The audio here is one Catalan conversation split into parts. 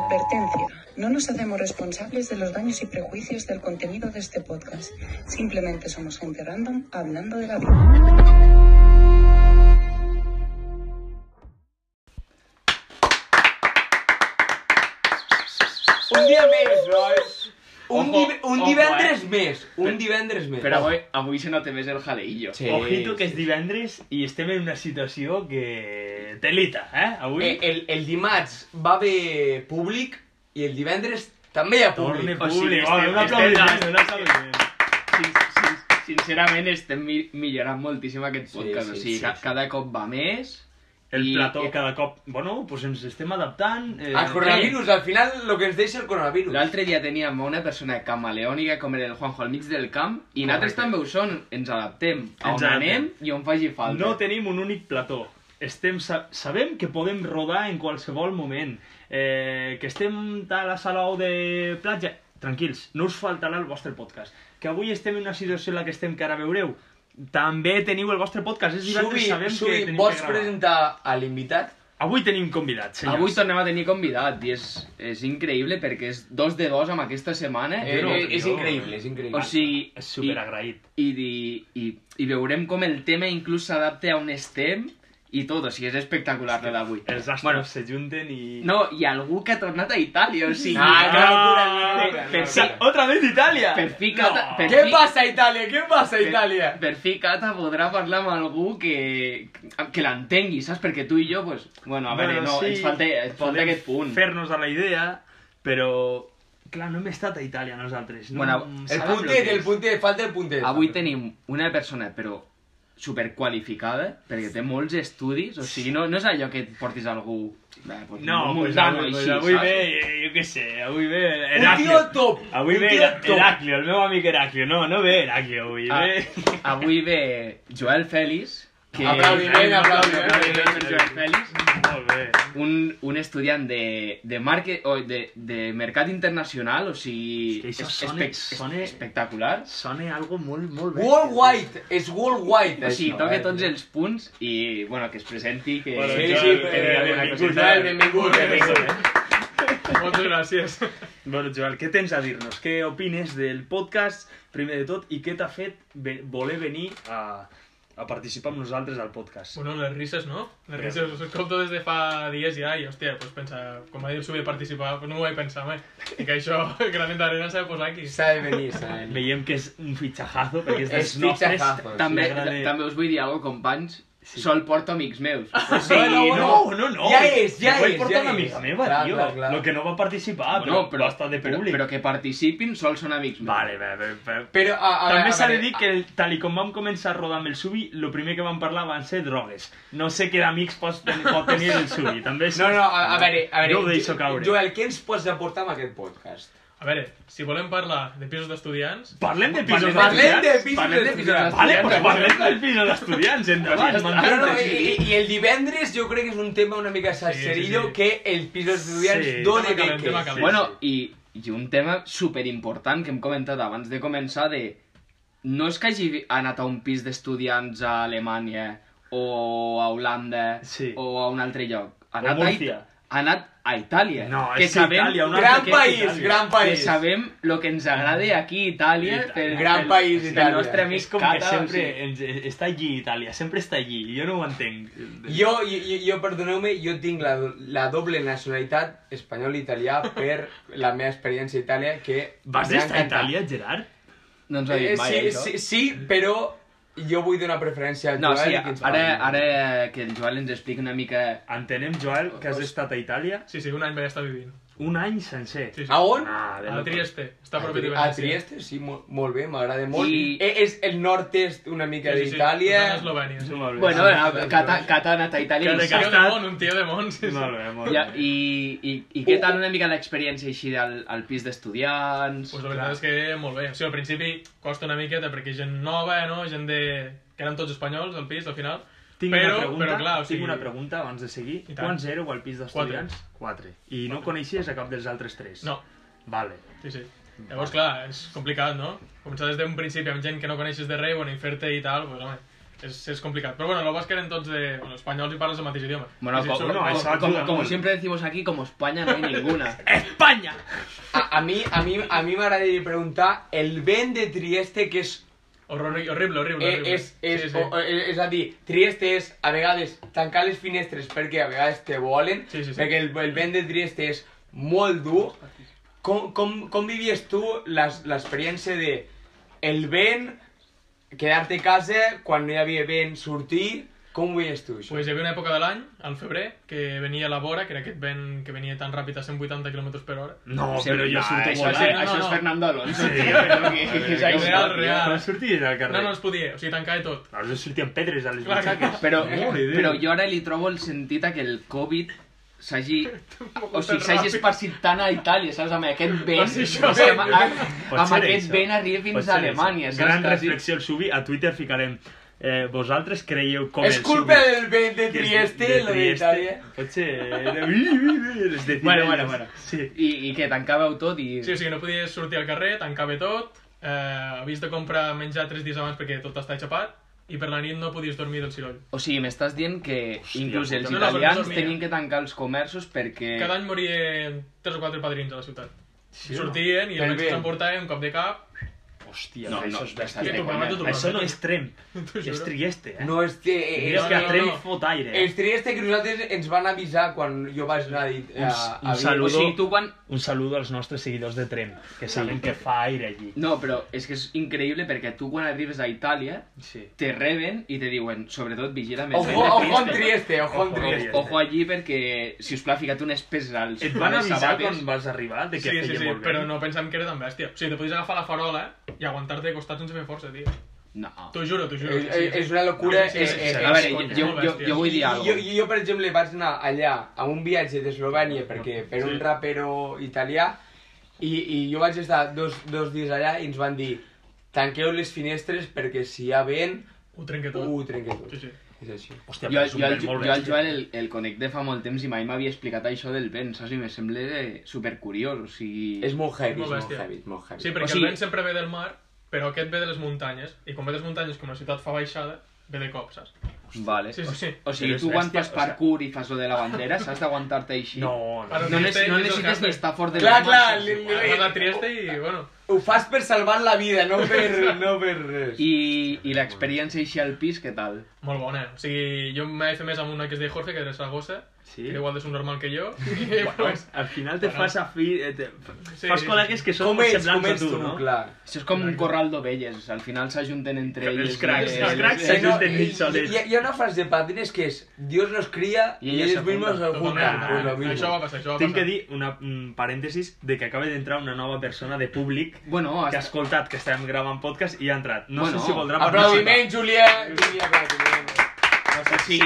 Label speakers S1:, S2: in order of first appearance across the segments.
S1: Advertencia. No nos hacemos responsables de los daños y prejuicios del contenido de este podcast. Simplemente somos gente random hablando de la vida.
S2: Un dia més, nois. Un,
S3: Ojo,
S2: div un
S3: ojo,
S2: divendres
S3: eh.
S2: més. Un
S3: Però-
S2: divendres més.
S3: Però avui, avui se nota més el jadeillo.
S2: Sí. Eh,
S4: Ojito que és divendres i estem en una situació que... Telita, eh? Avui
S2: Eh, el, el dimarts va haver públic i el divendres també hi ha
S4: torne
S2: públic.
S3: o sigui,
S4: públic.
S3: estem-
S4: Oh, un aplaudiment,
S3: estem-
S4: un aplaudiment.
S3: Sin, sin, sincerament estem mi millorant moltíssim aquest
S2: Sí,
S3: podcast.
S2: sí,
S3: o sigui,
S2: sí,
S3: ca
S2: sí.
S3: cada cop va més.
S4: El
S3: i-
S4: plató
S3: i-
S4: cada cop... Bueno, doncs ens estem adaptant. Eh,
S2: El coronavirus, eh, al final, el que ens deixa el coronavirus.
S3: L'altre dia teníem una persona camaleònica com era el Juanjo al mig del camp i nosaltres
S4: Correcte.
S3: també ho són, ens adaptem a on
S4: Ens adaptem.
S3: anem i on faci
S4: Eh,
S3: falta.
S4: No tenim un únic plató. Estem, sa sabem que podem rodar en qualsevol moment. Eh, que estem a la sala o de platja. Tranquils, no us faltarà el vostre podcast. Que avui estem en una situació en la que estem que ara veureu. També teniu el vostre podcast. És divendres,
S2: Subi,
S4: sabem
S2: Subi,
S4: que tenim
S2: vols
S4: que gravar.
S2: presentar a l'invitat?
S4: Avui tenim convidats, senyors.
S3: Avui tornem a tenir convidat i és, és increïble perquè és dos de dos amb aquesta setmana.
S2: Eh,
S4: no,
S2: eh, és
S4: jo-
S2: increïble, és increïble.
S3: O sigui,
S4: És superagraït.
S3: i, i, i, i veurem com el tema inclús s'adapta a on estem i tot, o sigui, és espectacular lo d'avui.
S4: Els astres
S3: Bueno,
S4: bueno, se junten i...
S3: No, i algú que ha tornat a Itàlia, o sigui...
S2: Ah, que locura, que locura,
S4: per,
S2: que
S4: sa-
S2: locura.
S4: Otra vez Itàlia!
S3: Per fi Cata...
S4: No.
S3: Per
S2: Què
S3: fi,
S2: passa a Itàlia? Què passa a
S3: per-
S2: Itàlia?
S3: Per fi Cata podrà parlar amb algú que, que l'entengui, saps? Perquè tu i jo, pues, bueno, a veure, no, ens falta, ens falta
S4: podem
S3: aquest punt.
S4: fer-nos a la idea, però... Clar, no hem estat a Itàlia nosaltres. No
S3: Bueno,
S4: sabem
S2: El
S4: lo
S2: puntet,
S4: que
S2: el
S4: és.
S2: puntet, falta el puntet.
S4: eh?
S3: Avui tenim una persona, però superqualificada, perquè té molts estudis, o sigui, no, no és allò que et portis algú... Eh, pues,
S4: No,
S3: un
S4: pues,
S3: mundano
S4: avui, pues,
S3: així,
S4: avui
S3: saps?
S4: ve, eh, jo què sé, avui ve
S2: Un
S4: Heraclio.
S2: tio top.
S4: Avui
S2: un
S4: ve
S2: tio
S4: Hera-
S2: top.
S4: Heraclio, el meu amic Heraclio. No, no ve Heraclio avui,
S3: Ah,
S4: ve...
S3: avui ve Joel Fèlix, que
S2: Aplaudiment, aplaudiment.
S3: Joel Fèlix,
S4: Molt bé.
S3: un, un estudiant de, de, market, o de, de mercat internacional, o sigui,
S4: És que això
S3: es-
S4: sona- sona-
S3: espectacular.
S4: Sona algo molt, molt bé.
S2: Worldwide, és worldwide.
S3: O sigui,
S2: això, eh?
S3: toca tots els punts i, bueno, que es presenti, que,
S4: Bueno,
S3: que,
S2: Sí,
S4: Joel,
S2: sí,
S3: que digui
S4: eh,
S3: alguna
S4: benvingut,
S3: coseta.
S4: Joel,
S2: benvingut, benvingut.
S4: Moltes gràcies. Bueno, Joel, què tens a dir-nos? Què opines del podcast, primer de tot, i què t'ha fet ve- voler venir a, a participar amb nosaltres al podcast?
S5: Bueno, les risas, ¿no?
S4: Bien.
S5: Las risas, os escolto desde fa días ya y, hostia, pues pensa, com ha dit el Subi, participar, pues no m'ho vaig pensar mai. I que això, Granet d'Arena, s'ha de posar aquí.
S2: S'ha de venir, s'ha de venir.
S4: Veiem que és un fitxajazo, perquè és
S2: És
S4: dels nostres.
S2: fitxajazo, sí.
S3: També,
S4: M'agrada-
S3: també us vull dir alguna cosa, companys, sol porto amics meus. O
S4: Sí,
S3: sigui,
S2: Bueno,
S4: no,
S2: bueno.
S4: no, no.
S2: Ja és, ja
S4: Ho vaig
S2: és, ja
S4: portar una
S2: és.
S4: amiga meva,
S2: Clar,
S4: tio.
S2: clar, clar.
S4: Lo que no va participar, però,
S3: no, però,
S4: va estar de
S3: però,
S4: públic.
S3: però que participin sol són amics meus.
S4: Vale, bé, bé, bé.
S2: Però, a, a
S4: També
S2: veure,
S4: s'ha
S2: a
S4: de
S2: veure,
S4: dir que, el- tal i com vam començar a rodar amb el Subi, el primer que vam parlar van ser drogues. No sé què d'amics pot, tenir- pot tenir el Subi, també és...
S2: No, no, a, a veure, a veure...
S4: Jo ho deixo caure.
S2: Joel, què ens pots aportar amb aquest podcast?
S5: A veure, si volem parlar de pisos d'estudiants,
S4: Parlem de pisos
S3: Parlem-
S4: d'estudiants?
S2: Parlem de pisos d'estudiants.
S3: Parlem de pisos
S4: Vale, doncs
S3: d'estudiants.
S4: parlem del pisos d'estudiants, endavant.
S3: Ja està.
S2: No,
S4: m'encanta.
S2: no, i, i, i el divendres jo crec que és un tema una mica salserillo
S5: sí, sí.
S2: que el piso d'estudiants
S4: Sí.
S2: dona
S5: Tema calent,
S2: beques.
S5: tema calent.
S3: Bueno, i, i un tema superimportant que hem comentat abans de començar de... No és que hagi anat a un pis d'estudiants a Alemanya o a Holanda
S4: Sí.
S3: o a un altre lloc. Ha
S4: O
S3: anat,
S4: Múrcia.
S3: A, ha anat a Itàlia.
S4: No,
S3: que
S4: és que
S3: sabem,
S4: Itàlia, un
S2: Gran
S4: altre que
S2: país,
S4: Itàlia.
S2: gran
S3: Que
S2: país.
S3: sabem el que ens agrada aquí a Itàlia.
S4: Itàlia.
S3: Per,
S2: Gran
S3: per-
S2: país,
S3: pel
S2: Itàlia.
S3: nostre amic
S4: És com
S3: Cata,
S4: que
S3: o
S4: sempre
S3: sigui,
S4: ens, està allí, Itàlia, sempre està allí, jo no ho entenc.
S2: Jo, jo, jo- jo perdoneu-me, jo tinc la, la doble nacionalitat espanyol i italià per la meva experiència a Itàlia que...
S4: Vas
S2: m'ha
S4: estar a
S2: encantat.
S4: Itàlia, Gerard?
S3: No ens ho ha
S2: Eh,
S3: dit mai,
S2: sí,
S3: doncs, això.
S2: sí, sí, però jo vull donar preferència a
S3: No,
S2: Joel
S3: sí,
S2: i que ens
S3: ara,
S2: parli.
S3: ara que el Joel ens explica una mica
S4: Entenem, Joel, que has estat a Itàlia
S5: sí, sí, un any vaig estar vivint.
S4: un any sencer.
S5: Sí, sí.
S2: A on?
S4: Ah, de
S5: A
S4: loco.
S5: Trieste,
S2: oh,
S5: està
S2: A
S5: propi de
S2: Tri- A
S5: Venècia.
S2: Trieste, sí, molt, molt bé, m'agrada molt.
S3: I-
S2: I... És e- el nord-est una mica
S5: Sí, sí, sí,
S2: d'Itàlia.
S5: tornant a Eslovènia, sí.
S4: Molt bé.
S3: Bueno,
S4: Sí.
S3: bueno, Cata, Cata ha anat a Itàlia
S4: Cada
S3: i,
S5: Un
S3: sap-
S5: tio de
S4: estat-
S5: món, un tio de món, sí, sí.
S4: Molt bé, molt bé.
S3: ja, i, i, i què tal una mica l'experiència així del, al pis d'estudiants?
S5: Pues la veritat és que molt bé. O sigui, al principi costa una miqueta perquè gent nova, no? Gent de... que eren tots espanyols al pis, al final.
S4: Tinc
S5: però,
S4: una pregunta,
S5: però clar, o sigui...
S4: tinc una pregunta abans de seguir.
S5: I tant.
S4: Quants éreu al pis d'estudiants? Quatre. I no coneixies a cap dels altres tres?
S5: No,
S4: Vale.
S5: Sí, sí. Llavors, clar, és complicat, no? Començar des d'un principi amb gent que no coneixes de res, bueno, i fer-te i tal, pues, home, és, és complicat. Però bueno, el basc eren tots de... Bueno, espanyols i parles el mateix idioma.
S3: Bueno,
S5: Sí,
S3: co-
S5: sobre-
S4: no,
S3: co-
S4: eso ayuda
S3: como, como
S4: mucho.
S3: siempre decimos aquí, como España no hay ninguna.
S4: ¡España!
S2: A, a mi a mi, a mi m'agradaria preguntar el vent de Trieste, que és
S5: Horror- horrible, horrible,
S2: Eh,
S5: horrible.
S2: és, és,
S5: sí, sí.
S2: o- o- eh, és a dir, Trieste és, a vegades, tancar les finestres perquè a vegades te volen,
S5: Sí, sí, sí.
S2: perquè el, el vent de Trieste és molt dur. Com, com, com vivies tu l'es- l'experiència de el vent, quedar-te a casa, quan no hi havia vent, sortir, com ho veies tu, això?
S5: Pues hi havia una època de l'any, al febrer, que venia la vora, que era aquest vent que venia tan ràpid a 180 km per hora.
S4: No,
S3: Siempre yo surto
S4: eso
S3: volar.
S5: sí,
S4: es-
S5: no,
S3: Eso
S5: no,
S3: es
S5: no.
S3: Fernando Alonso,
S4: Sí.
S3: tío. Lo que- que es ahí.
S5: real, real.
S4: Però sortir al carrer.
S5: No, no es podia, o sigui, tancava tot.
S4: Ara us sortien pedres a les
S5: Clar,
S4: butxaques.
S3: Però,
S4: Molt bé.
S3: però jo ara li trobo el sentit a que el Covid s'hagi... O sigui, s'hagi
S5: ràpid.
S3: esparcit tant a Itàlia, saps? Amb aquest vent...
S5: Va ser això.
S3: o sigui, amb, amb,
S4: Pot
S3: amb
S4: ser
S3: aquest
S4: això.
S3: vent arriba
S4: Pot
S3: fins
S4: ser
S3: a
S4: això.
S3: Alemanya, saps?
S4: Gran
S3: Quasi.
S4: reflexió, el Subi. A Twitter ficarem... Eh, vosaltres creieu com
S2: és
S4: el
S2: culpa
S4: Subi,
S2: del vent de
S4: que és
S2: Trieste, eh?
S4: de
S2: lo
S4: Trieste.
S2: d'Itàlia.
S4: Pot ser... eh, de- Ui, ui, ui, els decibels.
S3: Bueno, bueno, bueno.
S4: Sí.
S3: I, I què, tancàveu tot i...
S5: Sí, o sigui, no podies sortir al carrer, tancava tot, eh, havies de comprar menjar 3 dies abans perquè tot està xapat, i per la nit no podies dormir del ciroll.
S3: O sigui, m'estàs dient que inclús els
S5: puta. No, no, però no
S3: italians
S5: dormia.
S4: eh?
S3: tenien que tancar els comerços perquè...
S5: Cada any morien 3 o 4 padrins a la ciutat.
S4: Sí,
S5: Sortien i
S2: Per
S5: el metge
S2: bé.
S5: s'emportava un cop de cap.
S4: Hòstia,
S3: No, no,
S4: això és bèstia.
S3: estàs de
S5: tu, mama,
S3: comer.
S5: tu,
S4: Això no és Trem.
S5: T'ho juro.
S4: És Trieste, eh?
S2: No, és que...
S4: Mira
S5: no,
S4: que a
S5: no,
S4: Trem
S5: no.
S4: fot aire, eh?
S2: És Trieste que nosaltres ens van avisar quan jo vaig anar a, a,
S4: Un- un
S2: a,
S4: salut.
S3: O sigui, tu quan...
S4: Un saludo als nostres seguidors de Trem, que saben que fa aire allí.
S3: No, però és que és increïble perquè tu quan arribes a Itàlia
S4: Sí.
S3: te reben i te diuen, sobretot, vigila més.
S2: Ojo, ojo en Trieste, ojo en
S4: Ojo,
S2: Trieste.
S3: Ojo allí perquè, si us plau, fica't unes peces als
S4: Et van
S3: unes
S4: avisar
S3: sabates.
S4: quan vas arribar de que
S5: Sí, sí,
S4: feia
S5: sí,
S4: molt bé.
S5: però no pensem que era tan bèstia. O sigui, te podies agafar la farola i aguantar-te de costat sense fer força, tio.
S3: No.
S5: T'ho juro, t'ho juro.
S2: És, Eh, és- és una locura.
S5: Sí, sí, sí,
S2: eh,
S5: sí.
S2: eh,
S3: A veure,
S5: conya,
S3: jo, jo,
S5: molt
S3: jo vull dir
S2: jo,
S3: alguna cosa.
S2: jo, jo, per exemple, vaig anar allà a un viatge d'Eslovènia perquè per
S5: Sí.
S2: un rapero italià i, i jo vaig estar dos, dos dies allà i ens van dir tanqueu les finestres perquè si hi ha vent
S5: Ho trenca tot.
S2: ho trenca tot.
S5: Sí, sí.
S2: És així.
S4: Hòstia,
S3: Jo,
S4: però és un
S3: jo, el,
S4: vent molt
S3: jo el
S4: bèstia.
S3: Joel el, el conec de fa molt temps i mai m'havia explicat això del vent, saps? I me sembla eh, supercuriós, o sigui...
S2: És molt heavy,
S5: Molt
S2: és molt
S5: bèstia.
S2: heavy, és molt heavy.
S5: Sí, perquè
S3: O sigui-
S5: el vent sempre ve del mar, però aquest ve de les muntanyes, i quan ve de les muntanyes, com la ciutat fa baixada, ve de cop, saps?
S3: Vale.
S5: Sí, sí, sí.
S3: O sigui,
S4: Però és
S3: tu quan
S4: bèstia,
S3: fas
S4: o sea-
S3: parkour i fas lo de la bandera, s'has d'aguantar-te així.
S4: No, no.
S3: No,
S5: Ara-
S3: ne- no
S5: Trieste,
S3: necessites
S5: Trieste.
S3: ni estar fort de
S2: Clar,
S3: la mà,
S2: clar,
S3: saps?
S2: li-
S5: Bueno, Vas a Trieste i, bueno...
S2: Ho fas per salvar la vida, no per, no per res.
S3: I, i l'experiència així al pis, què tal?
S5: Molt bona. eh? O sigui, jo m'he fet més amb una que es deia Jorge, que era de Saragossa,
S4: Sí?
S5: que era igual de subnormal que jo. I, bueno, pues,
S4: Al final te
S5: Bueno.
S4: fas a fi... eh, Te...
S5: Sí,
S4: fas
S5: sí,
S4: col·legues que són
S2: Com
S4: molt
S2: ets, com
S4: semblants a
S2: ets
S4: tu,
S2: tu,
S4: no?
S2: clar.
S3: Això és com un corral d'ovelles, al final s'ajunten entre
S4: Els
S3: ells.
S4: cracs, els cracs
S2: Eh, no,
S4: Ellos de
S2: y-
S4: Michoacán.
S2: y- y hay una frase de Patines que es Dios los cría
S3: Y
S2: y,
S3: ellos
S2: ellos,
S3: se
S2: mismos
S3: juntan.
S2: se juntan.
S5: totalment. eh?
S2: Pues lo mismo.
S5: Això va passar, això va
S4: Tinc que
S5: passar.
S4: dir una mm, parèntesis de que acaba d'entrar una nova persona de públic
S3: Bueno,
S4: que ha
S3: hasta...
S4: escoltat que estem gravant podcast i ha entrat. No
S3: Bueno,
S4: sé si voldrà
S2: Aplaudiment, Julià! Julià, aplaudiment.
S4: No sé si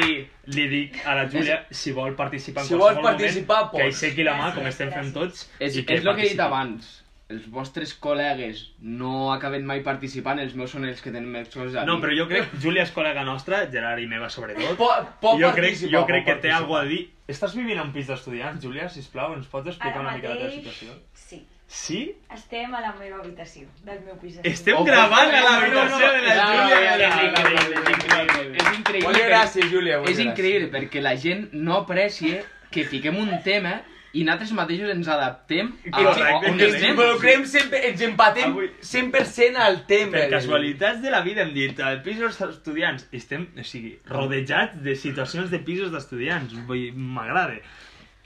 S4: li dic a la Júlia si vol participar en
S2: Si
S4: qualsevol
S2: vols participar,
S4: moment, que
S2: pots.
S4: aixequi la mà, com estem fent tots.
S3: és, és
S4: i
S3: el que he dit
S4: participi.
S3: abans. Els vostres col·legues no acaben mai participant, els meus són els que tenen més coses a dir.
S4: No, però jo crec, Júlia és col·lega nostra, Gerard i meva sobretot.
S2: Po- pot
S4: jo crec,
S2: participar,
S4: jo
S2: pot
S4: crec que té
S2: participar.
S4: alguna a dir. Estàs vivint en pis d'estudiants, Júlia, sisplau, ens pots explicar
S6: Ara
S4: una mica la teva
S6: mateix,
S4: situació?
S6: sí.
S4: Sí?
S6: Estem a la meva habitació, del meu pis.
S4: Estem
S2: Ojo,
S4: gravant a la
S2: no, no, no.
S4: habitació de la
S2: Ja,
S4: Júlia.
S2: ja, ja, ja, ja, ja,
S4: és increïble.
S3: És increïble,
S2: Moltes gràcies, Júlia.
S3: per...
S2: moltes
S3: és increïble perquè la gent no aprecia que fiquem un tema i nosaltres mateixos ens adaptem
S2: Ah,
S3: a, a, a
S4: Correcte,
S2: gràcies.
S3: on
S2: Ens
S3: estem.
S2: involucrem sempre, ens empatem
S4: Avui-
S2: 100% al tema.
S4: Per casualitats de la vida hem dit al pis dels estudiants i estem, o sigui, rodejats de situacions de pisos d'estudiants. Vull dir, M'agrada.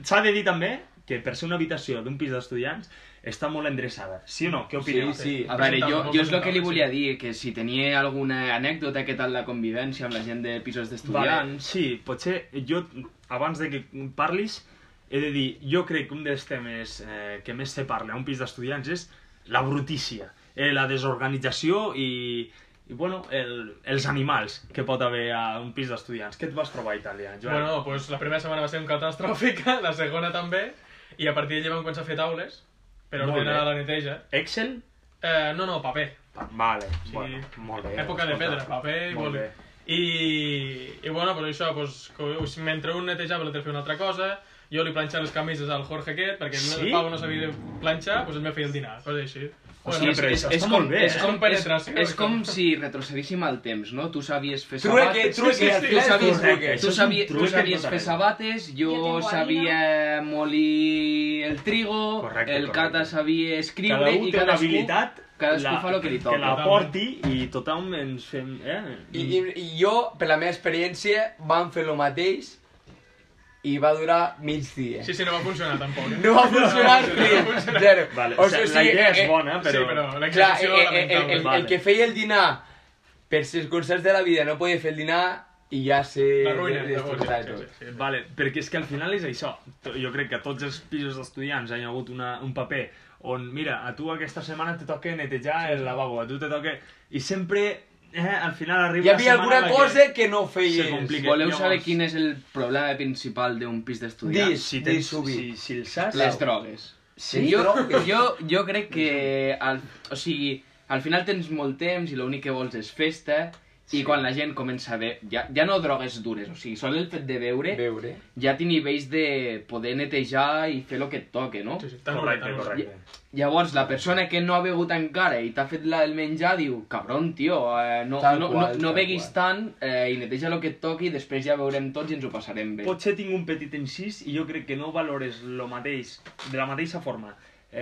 S4: S'ha de dir també que per ser una habitació d'un pis d'estudiants està molt endreçada. Sí o no? Què opineu?
S2: Sí, sí.
S3: A veure, jo, jo és el que li volia dir, que si tenia alguna anècdota, què tal la convivència amb la gent de pisos
S4: Vale,
S3: d'estudiants...
S4: sí, potser jo, abans de que parlis, he de dir, jo crec que un dels temes eh, que més se parla a un pis d'estudiants és la brutícia, eh, la desorganització i, i bueno, el, els animals que pot haver a un pis d'estudiants. Què et vas trobar a Itàlia, Joan?
S5: Bueno, pues la primera setmana va ser un catastròfica, la segona també, i a partir d'allí vam començar a fer taules, per
S4: Molt
S5: ordenar
S4: bé.
S5: la neteja.
S4: Excel?
S5: Eh, no, no, paper.
S4: Pa- Vale,
S5: Sí.
S4: bueno, molt bé.
S5: Època de
S4: escolta.
S5: pedra, paper i
S4: Molt
S5: boli.
S4: bé.
S5: I, i bueno, pues això, pues, que us- mentre un netejava l'altre feia una altra cosa, jo li planxava les camises al Jorge aquest, perquè
S4: Sí?
S5: el Pau no sabia planxar, doncs ell me feia el dinar, coses així.
S3: O sigui, és,
S4: però
S3: és,
S4: això
S3: és,
S4: està
S3: com,
S4: molt bé,
S3: és,
S4: eh?
S3: com, és,
S5: Compenetració,
S3: és
S5: això.
S3: com si retrocedíssim el temps, no? Tu sabies fer
S2: Trueque,
S3: sabates...
S2: trueque,
S5: sí, sí,
S2: tu
S5: és
S2: sabies
S4: correcte,
S2: trueque.
S4: això
S3: Tu,
S4: és
S3: sabi,
S4: un tota
S3: tu
S4: truc
S3: sabies
S4: total.
S3: fer sabates,
S6: Jo
S3: jo
S6: tinc
S3: sabia molir el trigo,
S4: Correcte,
S3: el
S4: correcte.
S3: Cata sabia escriure
S4: Cada un
S3: i
S4: té una
S3: cadascú,
S4: habilitat
S3: cadascú
S4: la-
S3: fa el que li toca.
S4: Que la porti i tothom ens fem... Eh?
S2: I, i, I jo, per la meva experiència, vam fer el mateix i va durar mig dia.
S5: Sí, sí, no va funcionar tampoc. Eh?
S2: No va funcionar
S5: no,
S2: res,
S5: no funcionar.
S2: zero.
S4: Vale,
S2: O
S4: o sigui,
S2: sigui,
S4: la idea
S2: eh,
S4: és bona,
S5: Sí,
S4: però...
S5: però
S2: Clar, eh,
S5: l'execució
S2: eh, eh, el,
S5: lamentable.
S2: el,
S4: Vale.
S2: el que feia el dinar per circumstàncies de la vida no podia fer el dinar i ja sé...
S5: La ruïna,
S2: de- de-
S5: llavors,
S2: de- de-
S5: sí,
S2: tot.
S5: sí, sí, sí.
S4: Vale, perquè és que al final és això. To- Jo crec que tots els pisos d'estudiants hi ha hagut una, un paper on, mira, a tu aquesta setmana te toca netejar el lavabo, a tu te toca... I sempre, eh, al final arriba
S2: Hi havia
S4: la setmana
S2: alguna
S4: en la
S2: cosa que no feies.
S4: se complica.
S3: Voleu
S4: Llavors-
S3: saber quin és el problema principal d'un pis d'estudiants?
S2: Dis.
S4: Si, tens,
S2: subir.
S4: si, si el saps...
S3: Les drogues.
S2: Sí?
S3: Jo,
S2: Drogues.
S3: jo, jo crec que... Al, o sigui, al final tens molt temps i l'únic que vols és festa i quan la gent comença a veure... Ja, ja no drogues dures, o sigui, sol el fet de veure
S2: Veure.
S3: ja té nivells de poder netejar i fer el que et toque, no?
S5: Sí, sí, tan correcte,
S4: Correcte, correcte.
S3: Llavors, la persona que no ha begut encara i t'ha fet la del menjar diu «Cabron, tio, eh, no,
S2: Tal
S3: no,
S2: qual,
S3: no, no
S2: tal
S3: beguis
S2: qual."
S3: tant eh, i neteja el que et toqui i després ja veurem tots i ens ho passarem bé».
S4: Potser tinc un petit incís i jo crec que no valores lo mateix, de la mateixa forma,